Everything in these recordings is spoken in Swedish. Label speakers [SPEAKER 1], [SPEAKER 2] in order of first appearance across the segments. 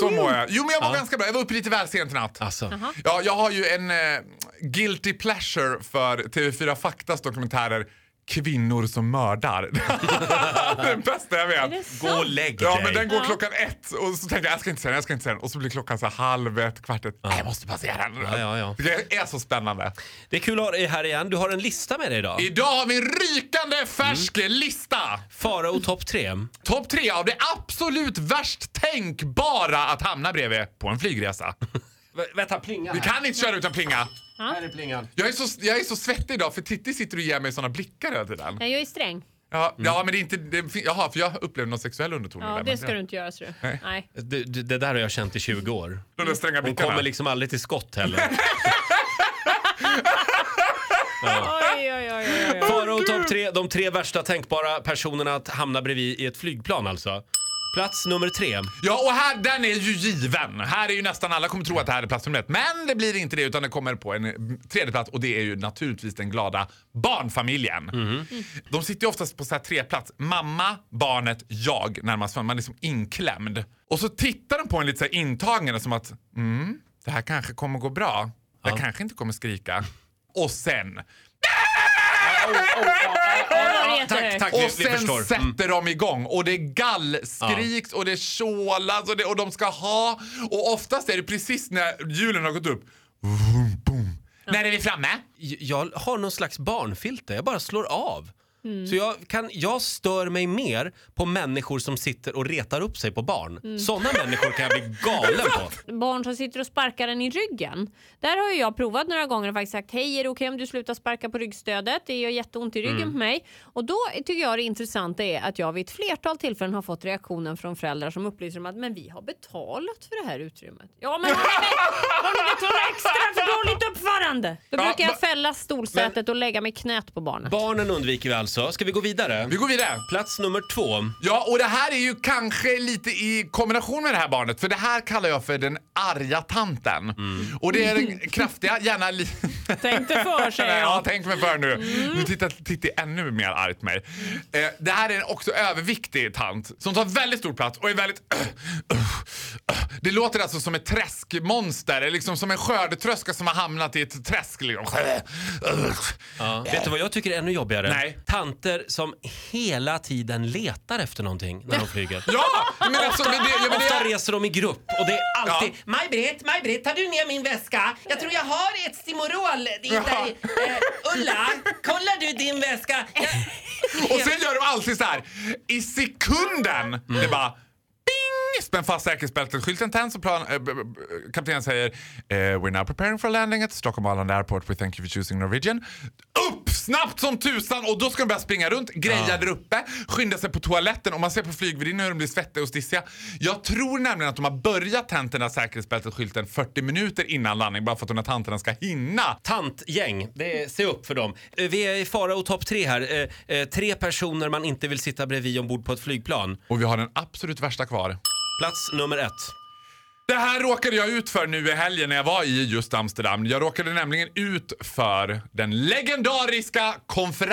[SPEAKER 1] Så mår jag. Jo men jag mår ganska bra. Jag var uppe lite väl sent i natt.
[SPEAKER 2] Alltså,
[SPEAKER 1] Ja, jag har ju en eh, guilty pleasure för TV4 Faktas dokumentärer Kvinnor som mördar. den bästa jag vet.
[SPEAKER 2] gå och lägg dig.
[SPEAKER 1] Ja men den går klockan ett och så tänkte jag jag ska inte se den, jag ska inte se den. Och så blir klockan så här halv ett, kvart ett. Nej, jag måste bara se den.
[SPEAKER 2] Ja, ja, ja.
[SPEAKER 1] Det är så spännande.
[SPEAKER 2] Det är kul att ha dig här igen. Du har en lista med dig idag.
[SPEAKER 1] Idag har vi en rykande färsk lista.
[SPEAKER 2] Farao topp tre.
[SPEAKER 1] Topp tre av det absolut värst tänkbara att hamna bredvid på en flygresa.
[SPEAKER 2] vänta, plinga
[SPEAKER 1] Vi kan inte köra utan plinga.
[SPEAKER 2] Här är plingan.
[SPEAKER 1] Jag är, så, jag är så svettig idag för Titti sitter och ger mig såna blickar hela tiden.
[SPEAKER 3] Ja, jag är sträng.
[SPEAKER 1] Ja, ja men det är inte... Det, fin- jaha, för jag upplevde någon sexuell underton i
[SPEAKER 3] Mm. Ja,
[SPEAKER 1] där,
[SPEAKER 3] det
[SPEAKER 1] men-
[SPEAKER 3] ska du inte göra, ser du.
[SPEAKER 1] Nej.
[SPEAKER 3] Nej.
[SPEAKER 2] Det, det det där har jag känt i 20 år.
[SPEAKER 1] De där stränga
[SPEAKER 2] Hon
[SPEAKER 1] blickarna.
[SPEAKER 2] kommer liksom aldrig till skott heller.
[SPEAKER 3] Oj, oj, oj, oj, oj.
[SPEAKER 2] Farao topp tre, de tre värsta tänkbara personerna att hamna bredvid i ett flygplan alltså. Plats nummer tre.
[SPEAKER 1] Ja, och här, den är ju given. Här är ju nästan alla kommer tro att det här är plats nummer ett. Men det blir inte det utan det kommer på en eh, tredje plats och det är ju naturligtvis den glada barnfamiljen. De sitter ju oftast på så här tre plats. Mamma, barnet, jag närmast. Man är liksom inklämd. Och så tittar de på en lite så här intagande som att mm, det här kanske kommer gå bra. Jag kanske inte kommer skrika. Och sen
[SPEAKER 3] Ja, det heter
[SPEAKER 2] Tack,
[SPEAKER 3] det.
[SPEAKER 2] tack. vi,
[SPEAKER 1] Och
[SPEAKER 2] vi
[SPEAKER 1] sen
[SPEAKER 2] förstår. Mm.
[SPEAKER 1] sätter de igång och det gallskriks och det tjålas och, det, och de ska ha. Och oftast är det precis när hjulen har gått upp. Vroom, boom. När är vi framme?
[SPEAKER 2] jag har någon slags barnfilter, jag bara slår av. Så jag, kan, jag stör mig mer på människor som sitter och retar upp sig på barn. Sådana människor kan jag bli galen på.
[SPEAKER 3] Barn som sitter och sparkar den i ryggen. Där har ju jag provat några gånger och faktiskt sagt hej, är det okej om du slutar sparka på ryggstödet? Det gör jätteont i ryggen
[SPEAKER 1] Mm.
[SPEAKER 3] på mig. Och då tycker jag det intressanta är att jag vid ett flertal tillfällen har fått reaktionen från föräldrar som upplyser om att men vi har betalat för det här utrymmet. Ja, men har ni, har ni betalat extra för dåligt uppförande? Då
[SPEAKER 1] Ja,
[SPEAKER 3] brukar jag
[SPEAKER 1] ba-
[SPEAKER 3] fälla stolsätet och lägga mig i knät på barnet.
[SPEAKER 2] Barnen undviker vi alltså. Ska vi gå vidare?
[SPEAKER 1] Vi går vidare.
[SPEAKER 2] Plats nummer två.
[SPEAKER 1] Ja, och det här är ju kanske lite i kombination med det här barnet. För det här kallar jag för den arga tanten.
[SPEAKER 2] Mm.
[SPEAKER 1] Och det är den kraftiga, gärna lite...
[SPEAKER 3] Tänkte för säger
[SPEAKER 1] Ja,
[SPEAKER 3] jag.
[SPEAKER 1] tänk mig för nu. Nu tittar Titti ännu mer argt på mig. Eh, det här är en också överviktig tant som tar väldigt stor plats och är väldigt... Det låter alltså som ett träskmonster, eller liksom som en skördetröska som har hamnat i ett träsk. Liksom.
[SPEAKER 2] Ja. Vet du vad jag tycker är ännu jobbigare?
[SPEAKER 1] Nej.
[SPEAKER 2] Tanter som hela tiden letar efter någonting när de flyger.
[SPEAKER 1] Ja, men alltså... Men det, ja, men
[SPEAKER 2] Ofta
[SPEAKER 1] det,
[SPEAKER 2] reser de i grupp och det är alltid Maj-Britt, Maj-Britt, tar du ner min väska? Jag tror jag har ett Stimorol i- där i- eh, Ulla, kollar du din väska? Jag-
[SPEAKER 1] och sen gör de alltid så här. i sekunden, det bara... "Bing!" Spänn fast säkerhetsbältet, skylten tänds och plan, eh, b- b- kaptenen säger eh, We're now preparing for landing at Stockholm Arlanda Airport. We thank you for choosing Norwegian. Upp snabbt som tusan och då ska de börja springa runt, greja där uppe, skynda sig på toaletten och man ser på flygvärdinnan hur de blir svettiga och stissiga. Jag tror nämligen att de har börjat tänderna säkerhetsbältet, skylten 40 minuter innan landning bara för att de här tanterna ska hinna.
[SPEAKER 2] Tantgäng, det är, se upp för dem. Eh, Vi är i fara och topp tre här. Eh, eh, tre personer man inte vill sitta bredvid ombord på ett flygplan.
[SPEAKER 1] Och vi har den absolut värsta kvar.
[SPEAKER 2] Plats nummer ett.
[SPEAKER 1] Det här råkade jag ut för nu i helgen när jag var i just Amsterdam. Jag råkade nämligen ut för den legendariska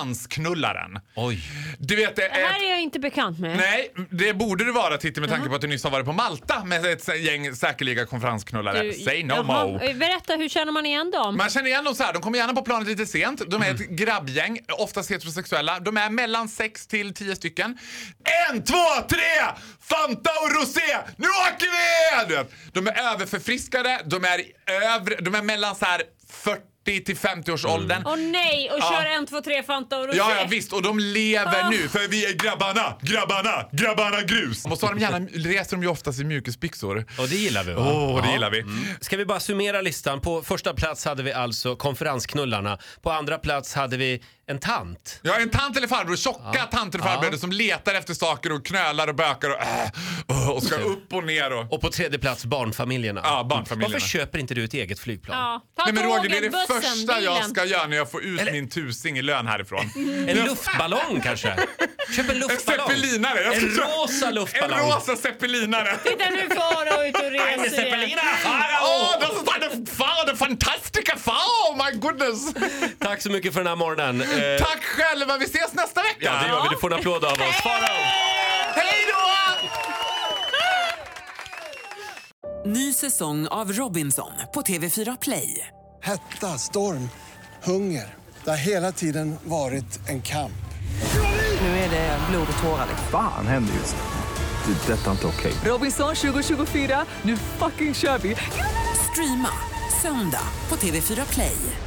[SPEAKER 1] konferensknullaren.
[SPEAKER 2] Oj.
[SPEAKER 1] Du vet, det
[SPEAKER 3] Det här
[SPEAKER 1] är...
[SPEAKER 3] är Mm. jag inte bekant med.
[SPEAKER 1] Nej, det borde det vara Titti med tanke på att du nyss har varit på Malta med ett gäng säkerliga konferensknullare.
[SPEAKER 3] Du-
[SPEAKER 1] Say Äh, no
[SPEAKER 3] Jaha,
[SPEAKER 1] mo.
[SPEAKER 3] eh, Berätta, hur känner man igen dem?
[SPEAKER 1] Man känner igen dem så här, de kommer gärna på planet lite sent. De är ett grabbgäng, oftast heterosexuella. De är mellan 6 till 10 stycken. En, två, tre! Fanta och rosé! Nu åker vi! Du vet, De är överförfriskade, de är i övre, de är mellan så här 40 till 50 års åldern.
[SPEAKER 3] Åh nej, och kör en, två, tre Fanta och rosé.
[SPEAKER 1] Ja, ja, visst. Och de lever
[SPEAKER 3] Ah.
[SPEAKER 1] nu, för vi är grabbarna, grabbarna, grabbarna grus. Och så har de gärna, reser de ju oftast i mjukisbyxor. Mm.
[SPEAKER 2] Och det gillar vi va?
[SPEAKER 1] Åh, det
[SPEAKER 2] Ja.
[SPEAKER 1] gillar vi.
[SPEAKER 2] Ska vi bara summera listan? På första plats hade vi alltså konferensknullarna. På andra plats hade vi en tant.
[SPEAKER 1] Ja, en tant eller farbror, tjocka tanter och farbröder som letar efter saker och knölar och bökar och, äh, och ska upp och ner och...
[SPEAKER 2] Och på tredje plats barnfamiljerna.
[SPEAKER 1] Ja, barnfamiljerna.
[SPEAKER 2] Varför köper inte du ett eget flygplan?
[SPEAKER 3] Ja, ta
[SPEAKER 1] Nej men
[SPEAKER 3] tåget,
[SPEAKER 1] Roger, det är det
[SPEAKER 3] bussen,
[SPEAKER 1] första
[SPEAKER 3] bilen. Mm.
[SPEAKER 1] jag ska göra när jag får ut
[SPEAKER 2] Eller-
[SPEAKER 1] min tusing i lön härifrån.
[SPEAKER 2] En luftballong kanske? Köp en
[SPEAKER 1] En
[SPEAKER 2] luftballong.
[SPEAKER 1] zeppelinare! Jag ska
[SPEAKER 2] En
[SPEAKER 1] köra-
[SPEAKER 2] rosa
[SPEAKER 1] En
[SPEAKER 2] luftballong.
[SPEAKER 1] rosa zeppelinare!
[SPEAKER 3] Titta nu far ut och
[SPEAKER 2] Eine
[SPEAKER 3] reser igen.
[SPEAKER 2] Zeppeliner! Farao!
[SPEAKER 1] Åh, das ist eine Frau, eine fantastische Frau! Oh my goodness!
[SPEAKER 2] Tack så mycket för den här morgonen. Eh,
[SPEAKER 1] Tack själva, vi ses nästa vecka!
[SPEAKER 2] ja, det gör vi. Du får en applåd av oss. Farao!
[SPEAKER 1] Hej då!
[SPEAKER 4] Ny säsong av Robinson på TV4 Play.
[SPEAKER 5] Hetta, storm, hunger. Det har hela tiden varit en kamp.
[SPEAKER 4] Nu är det blod och tårar.
[SPEAKER 6] Fan händer just nu. Det. är Detta är inte okej.
[SPEAKER 4] Robinson 2024, nu fucking kör vi! Streama söndag på TV4 Play.